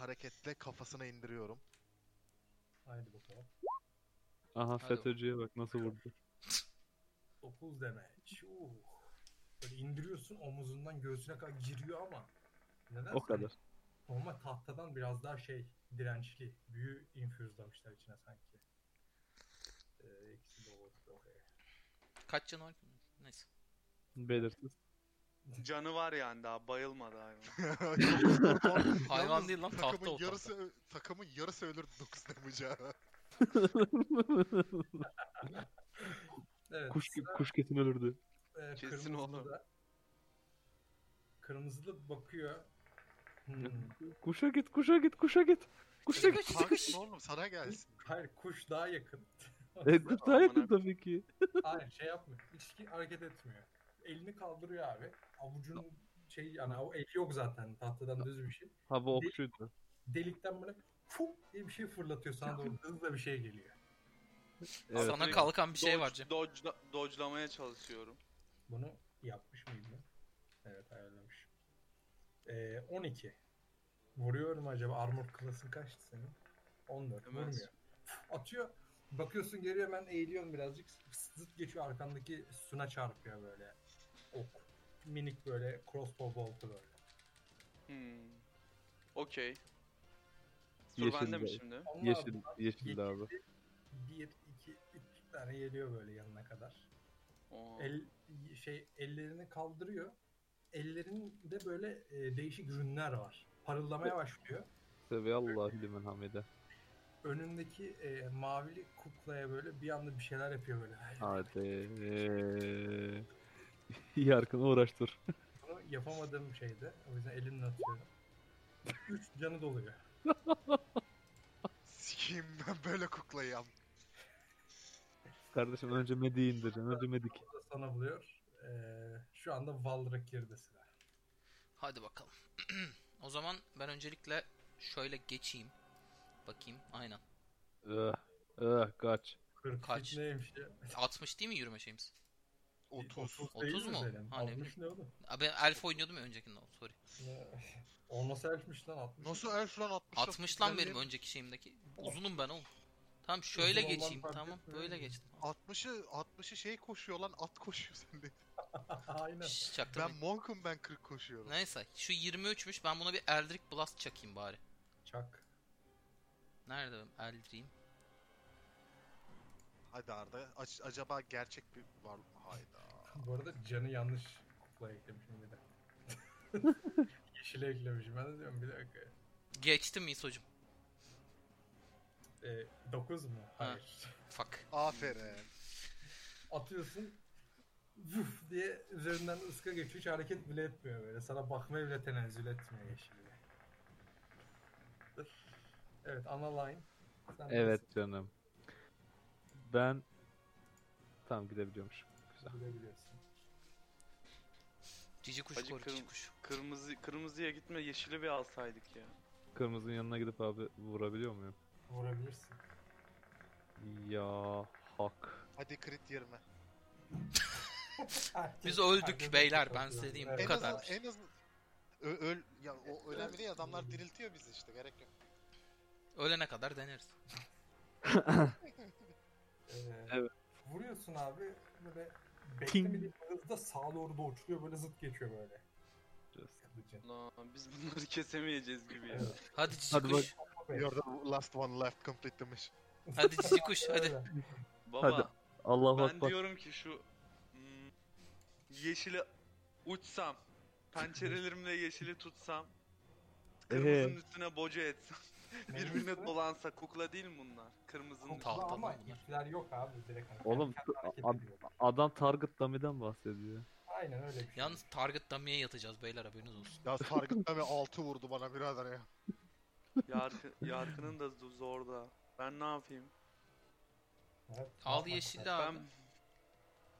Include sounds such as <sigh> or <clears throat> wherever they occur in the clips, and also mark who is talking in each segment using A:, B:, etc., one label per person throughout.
A: hareketle kafasına indiriyorum.
B: Haydi bakalım.
C: Aha
D: Hadi.
C: FETÖ'cüye bak nasıl vurdu.
B: 9 demek. Uh. Böyle indiriyorsun omuzundan göğsüne kadar giriyor ama. Neden?
C: O kadar.
B: Normal tahtadan biraz daha şey dirençli. Büyü infüzlamışlar içine sanki. Ee, ikisi de olabilir oraya.
D: Kaç canı var? ki?
A: <laughs>
D: Neyse.
C: Belirsiz.
E: Canı var yani daha bayılmadı hayvan.
D: Hayvan
A: Yalnız
D: değil lan, tahta
A: takımın
D: o tahta.
A: yarısı, ö- Takımın yarısı ölür 9 damage'a.
B: Evet.
C: kuş, kuş kesin ölürdü.
B: e,
E: Kesin
B: kırmızılı
E: olur.
B: da- Kırmızılı bakıyor. Hmm.
C: Kuşa git kuşa git kuşa git. Kuşa git.
A: Tank mı oğlum sana gelsin.
B: Hayır kuş daha yakın.
C: E, kuş daha yakın
E: Aman
C: tabii ki.
B: Hayır şey yapmıyor. Hiç ki- hareket etmiyor. Elini kaldırıyor abi. Avucun şey yani o eli yok zaten tahtadan düz bir şey.
C: Ha bu okçuydu.
B: Delikten böyle fup diye bir şey fırlatıyor sana doğru hızla bir şey geliyor.
C: Evet.
D: Sana kalkan bir şey var Cem.
E: Dodge, dodge'lamaya çalışıyorum.
B: Bunu yapmış mıydım? Evet ayarlamış. Ee, 12. Vuruyorum acaba armor klasın kaçtı senin? 14.
E: Hemen
B: Vurmuyor. Atıyor. Bakıyorsun geri hemen eğiliyorsun birazcık. Zıt geçiyor arkandaki suna çarpıyor böyle. Ok. Minik böyle crossbow boltu böyle.
E: Hmm. Okey. Sur
C: Yeşil
E: bende mi
C: bey.
E: şimdi?
B: Onlar
C: Yeşil,
B: yeşil.
C: yeşildi abi.
B: 1, 2, 3 tane geliyor böyle yanına kadar.
E: Oo.
B: El, şey ellerini kaldırıyor. Ellerinde böyle e, değişik rünler var. Parıldamaya başlıyor.
C: Seviye Allah'ı limen hamide.
B: önündeki e, mavili kuklaya böyle bir anda bir şeyler yapıyor böyle.
C: Hadi. <laughs> Yarkın uğraştır.
B: Bunu yapamadığım şeydi. O yüzden elimle atıyorum. Üç canı doluyor.
A: Sikiyim ben böyle kuklayı am.
C: Kardeşim önce Medi indireceksin. Önce Medik.
B: Bu da sana buluyor. E, şu anda Valrak girdi sıra.
D: Hadi bakalım. <clears throat> o zaman ben öncelikle şöyle geçeyim. Bakayım. Aynen.
C: Ih, ih, Ah, kaç.
B: 40
D: Kaç?
B: Kaç? neymiş ya?
D: 60 değil mi yürüme şeyimiz?
A: 30.
D: Otuz
B: değil mi
D: mu?
B: senin?
D: Ha, ne
B: 60 ne oğlum?
D: Aa, Ben elf oynuyordum ya öncekinde. Sorry.
B: Ne? <laughs> Olmasa elfmiş lan 60.
A: Nasıl elf lan 60?
D: 60 lan benim önceki şeyimdeki. Uzunum ben oğlum. Tamam şöyle
B: Uzun olman
D: geçeyim.
B: fark
D: Tamam
B: etmiyor.
D: böyle geçtim.
A: 60'ı 60'ı şey koşuyor lan at koşuyor <laughs> sende.
B: Aynen.
D: Şşş
A: Ben
D: çaktırmayın.
A: monkum ben 40 koşuyorum.
D: Neyse şu 23'müş ben buna bir Eldrick Blast çakayım bari.
B: Çak.
D: Nerede benim Eldrick'im?
A: Hadi Arda ac- acaba gerçek bir var mı? Hayda.
B: Bu arada canı yanlış kuklaya eklemişim bir de. Yeşile eklemişim. Ben de diyorum bir dakika.
D: Geçtim İso'cum.
B: E, 9 mu?
D: Ha.
B: Hayır.
D: Fuck.
A: Aferin.
B: atıyorsun vuf diye üzerinden ıska geçiyor. Hiç hareket bile etmiyor böyle. Sana bakmaya bile tenezzül etmiyor yeşili. Evet ana line. Sen
C: Evet canım. Ben... Tamam gidebiliyormuşum. Güzel.
B: nasıl bilebiliyorsun?
D: Cici kuş
E: Acı
D: kor, cici
E: kırm-
D: kuş.
E: Kırmızı kırmızıya gitme yeşili bir alsaydık ya.
C: Kırmızının yanına gidip abi vurabiliyor muyum?
B: Vurabilirsin.
C: Ya hak.
A: Hadi crit 20.
B: Herkes-
D: Biz öldük
B: herkes
D: beyler,
B: çok
D: ben
B: güzel.
D: size diyeyim,
B: Evet.
D: bu
A: en
D: kadar.
A: azından en azından Ö- öl ya o önemli değil adamlar diriltiyor bizi işte gerek yok.
D: Ölene kadar deneriz.
B: Ee,
C: Evet.
B: Vuruyorsun abi böyle
C: Ting.
B: beklemediğin hızda sağa doğru da uçuyor böyle zıt geçiyor böyle. Kılıcın.
E: Lan biz bunları <laughs> kesemeyeceğiz gibi ya.
B: Evet.
D: Hadi cici
C: Hadi
D: kuş.
B: Yok.
A: the last one left complete demiş.
D: Hadi
B: <laughs>
D: cici kuş hadi.
B: Öyle.
E: Baba
C: Hadi. Allah
E: ben
C: bak.
E: diyorum ki şu hmm, yeşili uçsam, pençerelerimle yeşili tutsam, kırmızının üstüne boca etsem, <laughs> birbirine dolansa kukla değil mi bunlar? Kırmızının
D: Tamam. Tahtadan
B: Ama
D: bunlar.
B: ipler yok abi direkt. hani
C: Oğlum,
B: kendi kendine hareket
C: ad-
B: ediyor.
C: Adam target dummy'den bahsediyor.
B: Aynen öyle bir şey.
D: Yalnız target dummy'e yatacağız beyler haberiniz olsun.
A: Ya targetleme 6 vurdu bana birader ya.
E: üstüne- Yarkı, yarkının da zor da. Ben ne yapayım?
B: Evet,
D: Al
B: tamam.
D: yeşilli abi.
E: Ben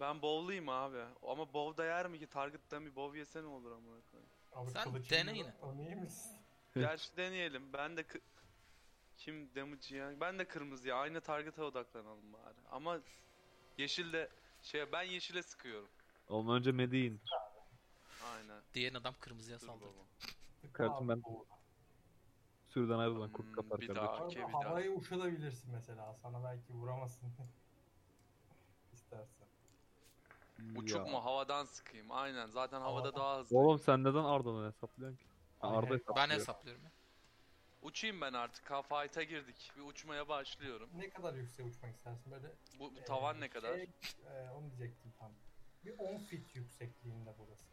E: ben bowlayayım abi. Ama bow da yer mi ki? Target'tan bir bow yese ne olur amına koyayım.
B: Abi
D: Sen
B: kılıcın
D: dene
B: yok.
D: yine.
B: Onu iyi misin?
E: Gerçi deneyelim. Ben de kı- kim damage ya? Ben de kırmızıya. Aynı target'a odaklanalım bari. Ama yeşil de şey ben yeşile sıkıyorum.
C: Oğlum önce Medi indir.
E: Aynen.
D: Diyen adam kırmızıya
E: Dur
D: saldırdı.
E: baba.
C: Kardeşim ben-
B: Abi, bu-
C: Sürüden ayrılan kurt
E: Hmm,
C: kapar
E: bir
C: kardeşim.
E: daha. Okey, bir daha.
B: havaya uçalabilirsin mesela. Sana belki vuramasın. <laughs> İstersen.
E: Uçuk
C: Ya.
E: mu havadan sıkayım aynen zaten havada
B: Havadan.
E: daha hızlı.
C: Oğlum sen neden Arda'dan hesaplıyorsun ki? Ha,
B: Aynen.
C: Arda
B: Ben
C: hesaplıyor.
D: Ben hesaplıyorum ya.
E: Uçayım ben artık ha fight'a girdik bir uçmaya başlıyorum.
B: Ne kadar yükseğe uçmak istersin böyle?
E: Bu, bu
B: e,
E: tavan ne kadar?
B: Şey, e, onu diyecektim tam. Bir 10 fit yüksekliğinde burası.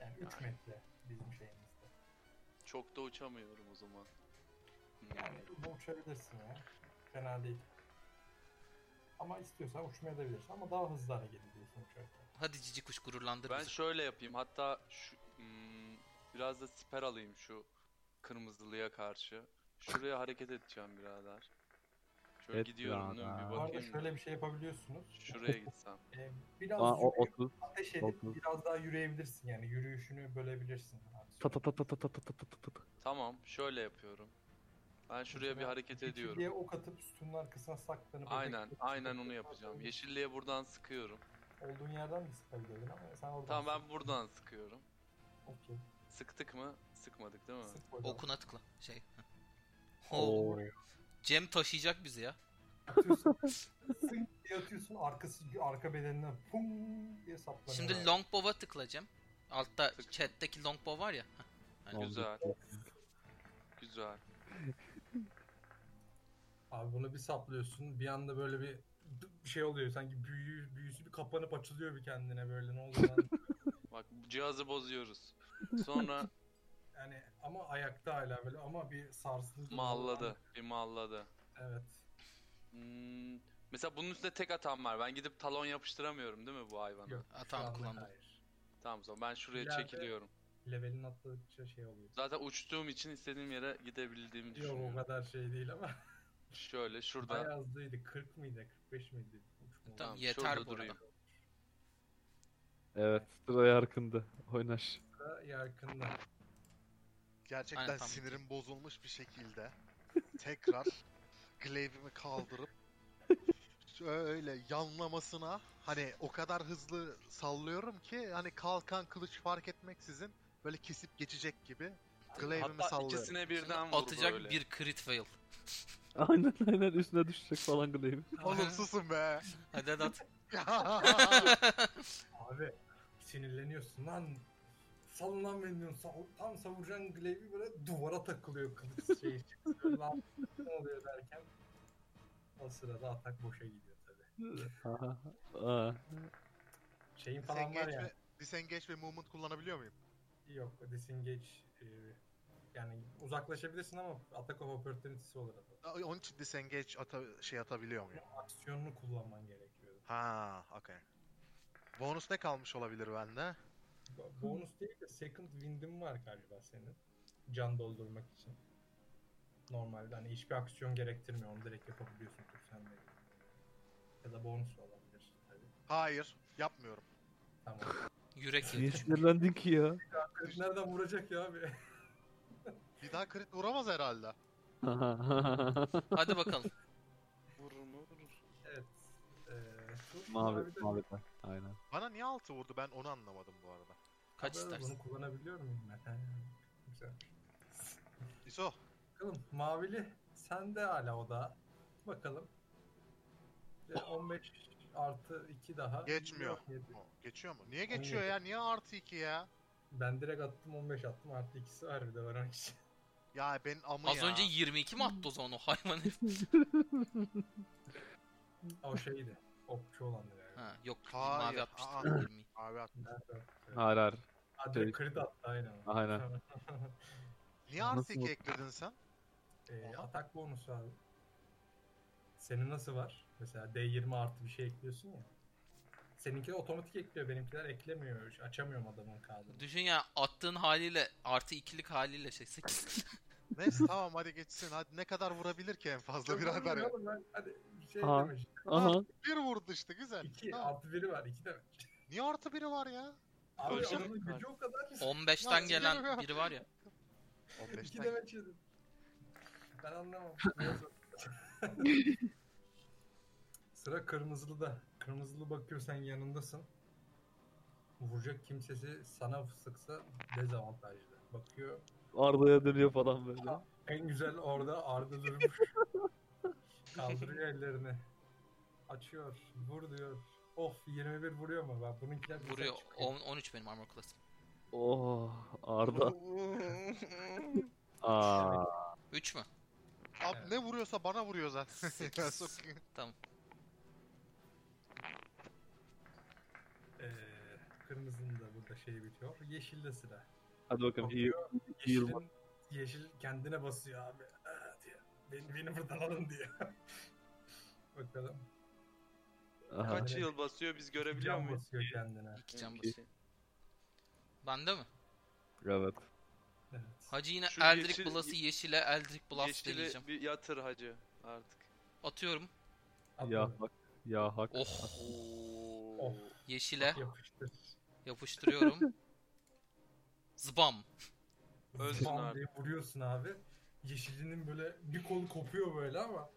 B: Yani 3
E: Yani.
B: metre bizim şeyimizde.
E: Çok da uçamıyorum o zaman. Hmm.
B: Yani bunu uçabilirsin ya. Fena değil. Ama istiyorsan uçmaya da bilirsin. Ama daha hızlı hareket ediyorsun uçarken.
D: Hadi cici kuş gururlandır
E: Ben
D: bizi.
E: şöyle yapayım hatta şu, hmm, biraz da siper alayım şu kırmızılıya karşı. Şuraya hareket edeceğim birader. Şöyle
C: Et
E: gidiyorum dön
C: birader.
E: bir
B: Bu arada
E: bakayım.
B: şöyle bir şey yapabiliyorsunuz. <laughs>
E: Şuraya gitsem.
B: E, biraz
C: Aa, o,
B: yürüyüp
C: 30.
B: ateş edip
C: otuz.
B: biraz daha yürüyebilirsin. Yani yürüyüşünü bölebilirsin.
C: Ta ta ta ta ta ta ta ta ta ta.
E: Tamam şöyle yapıyorum. Ben şuraya bir
B: Mesela
E: hareket ediyorum.
B: Yeşilliğe ok atıp sütunun arkasına saklanıp...
E: Aynen,
B: öteki-
E: aynen onu yapacağım. Yeşilliğe buradan sıkıyorum.
B: Olduğun yerden de sıkabilirdin ama sen oradan
E: Tamam ben
B: sık.
E: buradan sıkıyorum.
B: Okey.
E: Sıktık mı? Sıkmadık değil mi?
B: Sık buradan.
D: Okuna tıkla. Şey. <laughs>
E: Oh,
D: Oo.
C: Oo.
D: Cem taşıyacak bizi ya.
B: <laughs> Atıyorsun. Sınk diye atıyorsun arkası arka bedenine pum diye saplanıyor.
D: Şimdi longbow'a tıkla Cem. Altta
E: Tık.
D: chat'teki longbow var ya. Heh,
E: Güzel. Güzel.
B: Abi bunu bir saplıyorsun bir anda böyle bir d- şey oluyor sanki büyü, büyüsü bir kapanıp açılıyor bir kendine böyle ne oluyor lan.
D: <laughs>
E: Bak cihazı bozuyoruz.
B: <laughs>
E: Sonra
B: yani ama ayakta hala böyle ama bir sarsıntı.
E: malladı. Bir malladı.
B: Evet.
E: Hmm, mesela bunun üstüne tek atan var. Ben gidip talon yapıştıramıyorum değil mi bu hayvana?
B: Yok.
D: Ha,
B: şu
D: tamam,
B: anda
D: kullandım.
B: hayır.
E: Tamam o zaman ben şuraya
B: İleride-
E: çekiliyorum.
B: Levelin atladıkça şey oluyor.
E: Zaten uçtuğum için istediğim yere gidebildiğimi
B: Yok o
E: düşünüyorum.
B: kadar şey değil ama <laughs>
E: Şöyle şurada.
B: bayağı hızlıydı. 40 mıydı? 45 miydi? Uçma
D: E, Tamam
E: Tamam,
D: yeter
E: şurada
D: bu arada.
E: durayım.
C: Evet sıra Yarkın'dı. Oynaş. <laughs>
B: uçta yakında.
A: Gerçekten
D: Aynen, tamam.
A: sinirim bozulmuş bir şekilde tekrar glaive'imi kaldırıp şöyle yanlamasına hani o kadar hızlı sallıyorum ki hani kalkan kılıç fark etmeksizin böyle kesip geçecek gibi glaive'imi
E: Hatta
A: sallıyorum.
E: ikisine birden vur
D: Atacak
E: böyle.
D: bir crit fail.
C: Aynen aynen üstüne düşecek falan glaive.
A: <laughs> Oğlum susun be.
D: Hadi hadi at.
B: Abi sinirleniyorsun lan. Salın lan beni diyorsun. Savur- tam savuracağın glaive'i böyle duvara takılıyor kılıç şey. çıkıyor. lan ne oluyor derken o sırada atak boşa gidiyor tabii.
C: Aha. Aa.
B: Şeyin falan var
A: disengage,
B: ya.
A: ve, disengage ve movement kullanabiliyor muyum?
B: Yok disengage e, yani uzaklaşabilirsin ama atak of opportunity'si olur. adı.
A: Aa, Onun için disengage ata- şey atabiliyor muyum?
B: Aksiyonunu kullanman gerekiyor.
A: Ha, okey. Bonus ne kalmış olabilir bende?
B: Bo- Bonus değil de second wind'in var galiba senin. Can doldurmak için. Normalde hani hiçbir aksiyon gerektirmiyor. Onu direkt yapabiliyorsun tur sen de. Ya da bonus da olabilir. Tabii.
A: Hayır, yapmıyorum.
B: Tamam.
D: Yürek
C: Niye <laughs>
D: yedi.
C: sinirlendin ki ya?
B: Kırk <laughs> Nereden vuracak ya abi?
A: Bir daha crit vuramaz herhalde.
D: Hadi bakalım.
E: Vurur mu? Vurur.
B: evet. Ee, tur
C: mavi
B: mavi de-
C: mavi tak. Aynen.
A: Bana niye altı vurdu ben onu anlamadım bu arada.
D: Kaç
B: Abi,
D: istersin?
B: Bunu kullanabiliyor muyum ben? Güzel.
A: İso,
B: Bakalım mavili sende hala o da. Bakalım. <laughs> Ve 15 artı 2 daha.
A: Geçmiyor.
B: Yok, yedi.
A: o geçiyor mu? Niye geçiyor
B: Olmadı.
A: ya? Niye artı iki ya?
B: Ben direkt attım 15 attım artı ikisi var bir de var <laughs> işte.
A: Ya ben amı
D: Az
A: ya.
D: önce 22 mi attı o zaman o hayvan herif?
B: O şeydi. Okçu olandı yani.
D: Ha, yok
A: Hayır,
D: mavi
A: aa.
D: atmıştı 20.
A: Abi at-
B: Nerede?
C: Hayır hayır.
B: Ha,
C: şey-
B: direkt kredi attı aynen.
C: Aynen.
A: Niye artı
C: Nasıl
A: iki
C: vurdu?
A: ekledin sen?
B: <laughs> Ee,
A: Aha.
B: atak bonusu abi. Senin nasıl var? Mesela D20 artı bir şey ekliyorsun ya. Seninki otomatik ekliyor. Benimkiler eklemiyor. Hiç Açamıyorum adamın kağıdını.
D: Düşün ya attığın haliyle artı ikilik haliyle şey <laughs> 8.
A: Neyse tamam hadi geçsin. Hadi ne kadar vurabilir ki en fazla birader ya?
B: Oğlum ben- Hadi bir şey
C: Aha.
B: demiş.
C: Aha.
A: Bir vurdu işte güzel.
B: 2
A: Tamam.
B: artı biri var. 2 demek.
A: Niye artı biri var ya?
B: Abi
E: Ölçü-
B: adamın gücü o kadar.
D: 15'ten gelen
A: Ya,
D: biri var ya.
B: 2
A: 15'ten.
B: demek yedim. Ben anlamam. Neyse. <laughs> Sıra kırmızılı da. Kırmızılı bakıyor sen yanındasın. Vuracak kimsesi sana sıksa dezavantajlı. Bakıyor
C: Arda'ya dönüyor falan böyle.
B: En güzel orada Arda <laughs> durmuş. Kaldırıyor ellerini. Açıyor. Vur diyor. Of 21 vuruyor mu? Ben bununkiler bir
D: Vuruyor.
B: tek çıkıyor.
D: On- 13 benim armor class'ım.
C: Oh Arda. Aa.
D: 3 mü?
A: Abi ne vuruyorsa bana vuruyor zaten. <laughs> Ya
D: Sekiz.
A: sokayım.
D: tamam.
B: Ee, kırmızının da burada şeyi bitiyor. Yeşilde sıra.
C: Hadi bakalım iyi.
B: Bakıyor,
C: iyi
B: Yeşilin,
C: yıl
B: yeşil kendine basıyor abi. Aa, diye. Beni, beni buradan alın diye. <laughs> Bakalım.
C: Aha.
E: Kaç yıl basıyor biz görebiliyor
B: Can
E: muyuz?
B: basıyor kendine.
D: 2 can
C: İki.
D: basıyor. Bende mi?
C: Evet.
B: Evet.
D: Hacı yine
E: Şu
D: Eldrick
E: yeşil-
D: Blast'ı yeşile Eldrick Blast deneyeceğim.
E: Yeşili bir yatır hacı artık.
D: Atıyorum.
C: Ya
B: Atladı.
C: hak. Ya hak.
D: Oh.
E: Oo.
D: Yeşile
B: Yapıştır.
D: yapıştırıyorum. Zbam.
E: Ölsün
B: Bam
E: abi.
B: diye vuruyorsun abi. Yeşilinin böyle bir kolu kopuyor böyle ama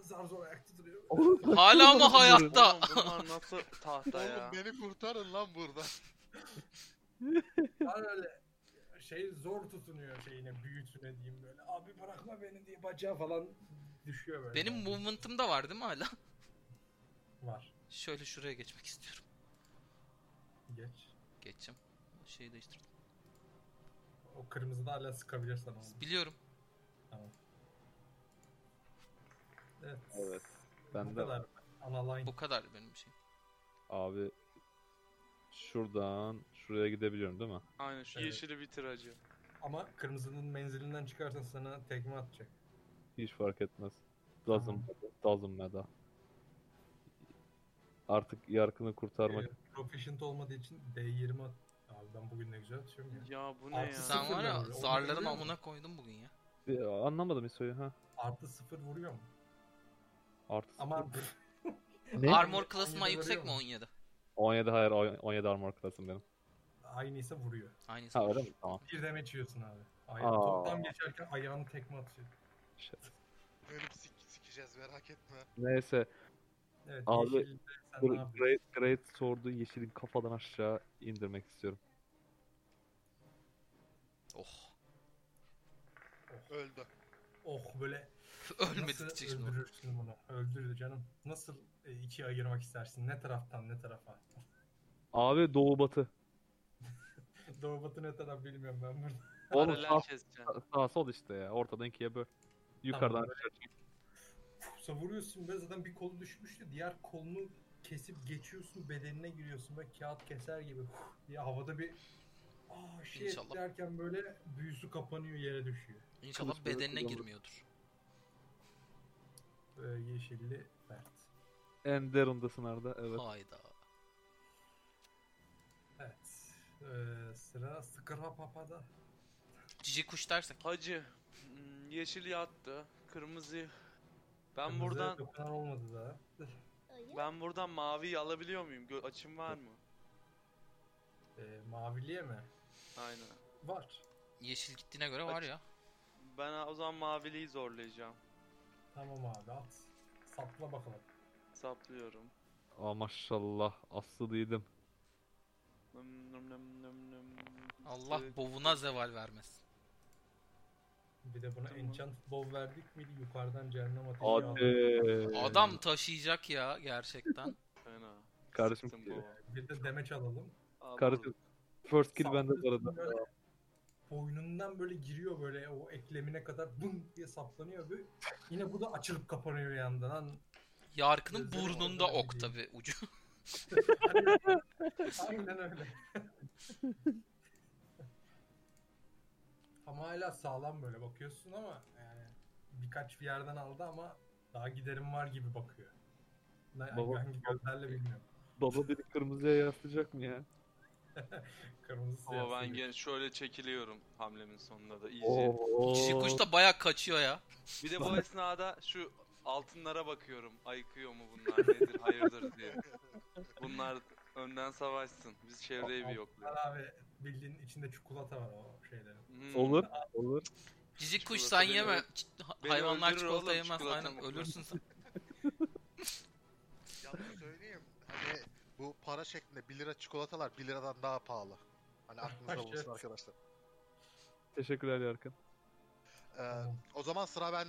B: zar zor ayakta
C: <laughs>
B: duruyor.
C: Oğlum, kaç
D: Hala
C: yıl
D: mı
C: basıyor?
D: hayat? Da-
E: Oğlum bunlar nasıl tahta ya?
B: <laughs>
A: Oğlum beni kurtarın lan burada.
B: Var öyle şey zor tutunuyor şeyine büyüsüne diyeyim böyle. Abi bırakma beni diye bacağı falan düşüyor böyle.
D: Benim movement'ım da var değil mi hala? <laughs>
B: var.
D: Şöyle şuraya geçmek istiyorum.
B: Geç.
D: Geçeceğim. Şeyi değiştirdim.
B: O kırmızıda hala sıkabilirsen onu.
D: Biliyorum.
B: Evet.
C: Evet.
B: Bu
C: Ben de
B: kadar. Ana line.
D: Bu kadar benim şeyim.
C: abi şuradan şuraya gidebiliyorum değil mi?
E: Aynen şu
B: Evet.
E: yeşili bitir hacı.
B: Ama kırmızının menzilinden çıkarsan sana tekme atacak.
C: Hiç fark etmez. Doesn't matter. Doesn't matter. Artık yarkını kurtarmak.
B: Ee, proficient olmadığı için D20 at. Abi ben bugün ne güzel atıyorum ya.
E: Ya bu ne
B: Artı
E: ya?
D: Sen var ya
B: Sıfırlar. Onu
D: zarların
B: biliyor musun?
D: amına koydum bugün ya.
C: Ee, Anlamadım İso'yu ha.
B: Artı sıfır vuruyor mu?
C: Artı
B: Aman
C: Ne?
D: Armor
B: On yedi
D: class'ıma
B: veriyor
D: yüksek mi
B: mu?
D: 17?
C: 17 hayır 17 armor klasım benim.
B: aynıysa vuruyor.
D: Aynısı.
C: Ha öyle mi? Tamam.
B: Bir dem içiyorsun abi.
C: Aa.
B: Ayağını toplam geçerken ayağını tekme atıyor.
C: Shit.
A: Ölüp sik sikeceğiz merak etme.
C: Neyse.
B: Evet,
C: Abi,
B: yeşilde sen ne
C: Dur,
B: yapıyorsun?
C: Great, great Sword'u yeşilin kafadan aşağı indirmek istiyorum.
D: Oh. <laughs>
A: Öldü.
B: Oh böyle
D: Ölmedi
B: nasıl
D: diyecek şimdi.
B: öldürürsün bunu? Öldürdü canım. Nasıl e, ikiye ayırmak istersin? Ne taraftan ne tarafa? <laughs>
C: Abi doğu batı.
B: Doğu batı ne taraf bilmiyorum ben burada.
C: Oğlum
E: Paralel
C: sağ,
E: keseceksin.
C: sağ sol işte ya. Ortadan ikiye böl. Yukarıdan
B: Tamam.
C: aşağı çek.
B: Sa vuruyorsun ve zaten bir kolu düşmüştü. Diğer kolunu kesip geçiyorsun bedenine giriyorsun ve kağıt keser gibi huf diye havada bir aa şey
D: İnşallah.
B: derken böyle büyüsü kapanıyor yere düşüyor.
D: İnşallah
C: Kılıç böyle
D: bedenine
C: kullanılır.
D: girmiyordur.
B: Ee, yeşilli Bert.
C: En derundasın Arda. Evet.
D: Hayda.
B: Evet. Ee, sıra Sıkıra Papa'da.
D: Cici kuş dersek.
E: Hacı. hmm, Yeşil yattı. Kırmızı. Ben
B: Kırmızı
E: buradan
B: dokunan olmadı daha.
E: ben buradan maviyi alabiliyor muyum? Gö- açım var mı?
B: Ee, maviliye mi?
E: Aynen.
B: Var.
D: Yeşil gittiğine göre var
E: Aç-
D: ya.
E: Ben o zaman maviliyi zorlayacağım.
B: Tamam abi at. Sapla bakalım.
E: Saplıyorum.
C: Aa, maşallah. Aslı değilim.
E: Nım nım nım nım nım.
D: Allah
E: Tık.
D: bovuna zeval vermesin.
B: Bir de buna
E: Tamam.
B: enchant bow verdik miydi? Yukarıdan cehennem ateşi
C: Hadi.
B: yağdı.
D: Adam taşıyacak ya gerçekten.
E: Fena.
C: Kardeşim, e,
E: Sıktım baba.
B: Bir de demeç alalım.
E: Al
C: Kardeşim. First kill bende
B: Saplı
C: bu arada.
B: böyle boynundan böyle giriyor böyle o eklemine kadar bum diye saplanıyor ve yine bu da açılıp kapanıyor yandan. Lan
D: Yarkının
B: Gözlerim
D: burnunda
B: oradan
D: ok
B: gidiyor.
D: tabi ucu.
B: Aynen öyle. ama hala sağlam böyle bakıyorsun ama yani birkaç bir yerden aldı ama daha giderim var gibi bakıyor. Ne-
C: Baba-
B: hangi gözlerle bilmiyorum.
C: Baba dedi kırmızıya yaslayacak mı ya?
B: Kırmızı
E: Ama ben
B: siyasi.
E: gene şöyle çekiliyorum hamlemin sonunda da iyice.
C: Oo.
D: Cici kuş da baya kaçıyor ya.
E: Bir de bu esnada şu altınlara bakıyorum. Ayıkıyor mu bunlar nedir hayırdır diye. Bunlar önden savaşsın. Biz çevreyi bir yokluyoruz.
B: Abi bildiğin içinde çikolata var o şeylerin.
E: Hmm.
C: Olur, olur.
D: Cici kuş
E: Çikolata
D: sen
E: beni
D: yeme.
E: öl-
D: Çi- ha-
E: beni
D: Hayvanlar
E: öldürür
D: çikolata
E: oğlum,
D: yemez.
E: çikolata
D: Aynen
E: mı?
D: ölürsün sen.
A: Yalnız söyleyeyim. Hani bu para şeklinde 1 lira çikolatalar 1 liradan daha pahalı. Hani aklınızda bulunsun
B: Evet.
A: arkadaşlar.
C: Teşekkürler Yarkan.
A: Ee, o zaman sıra bende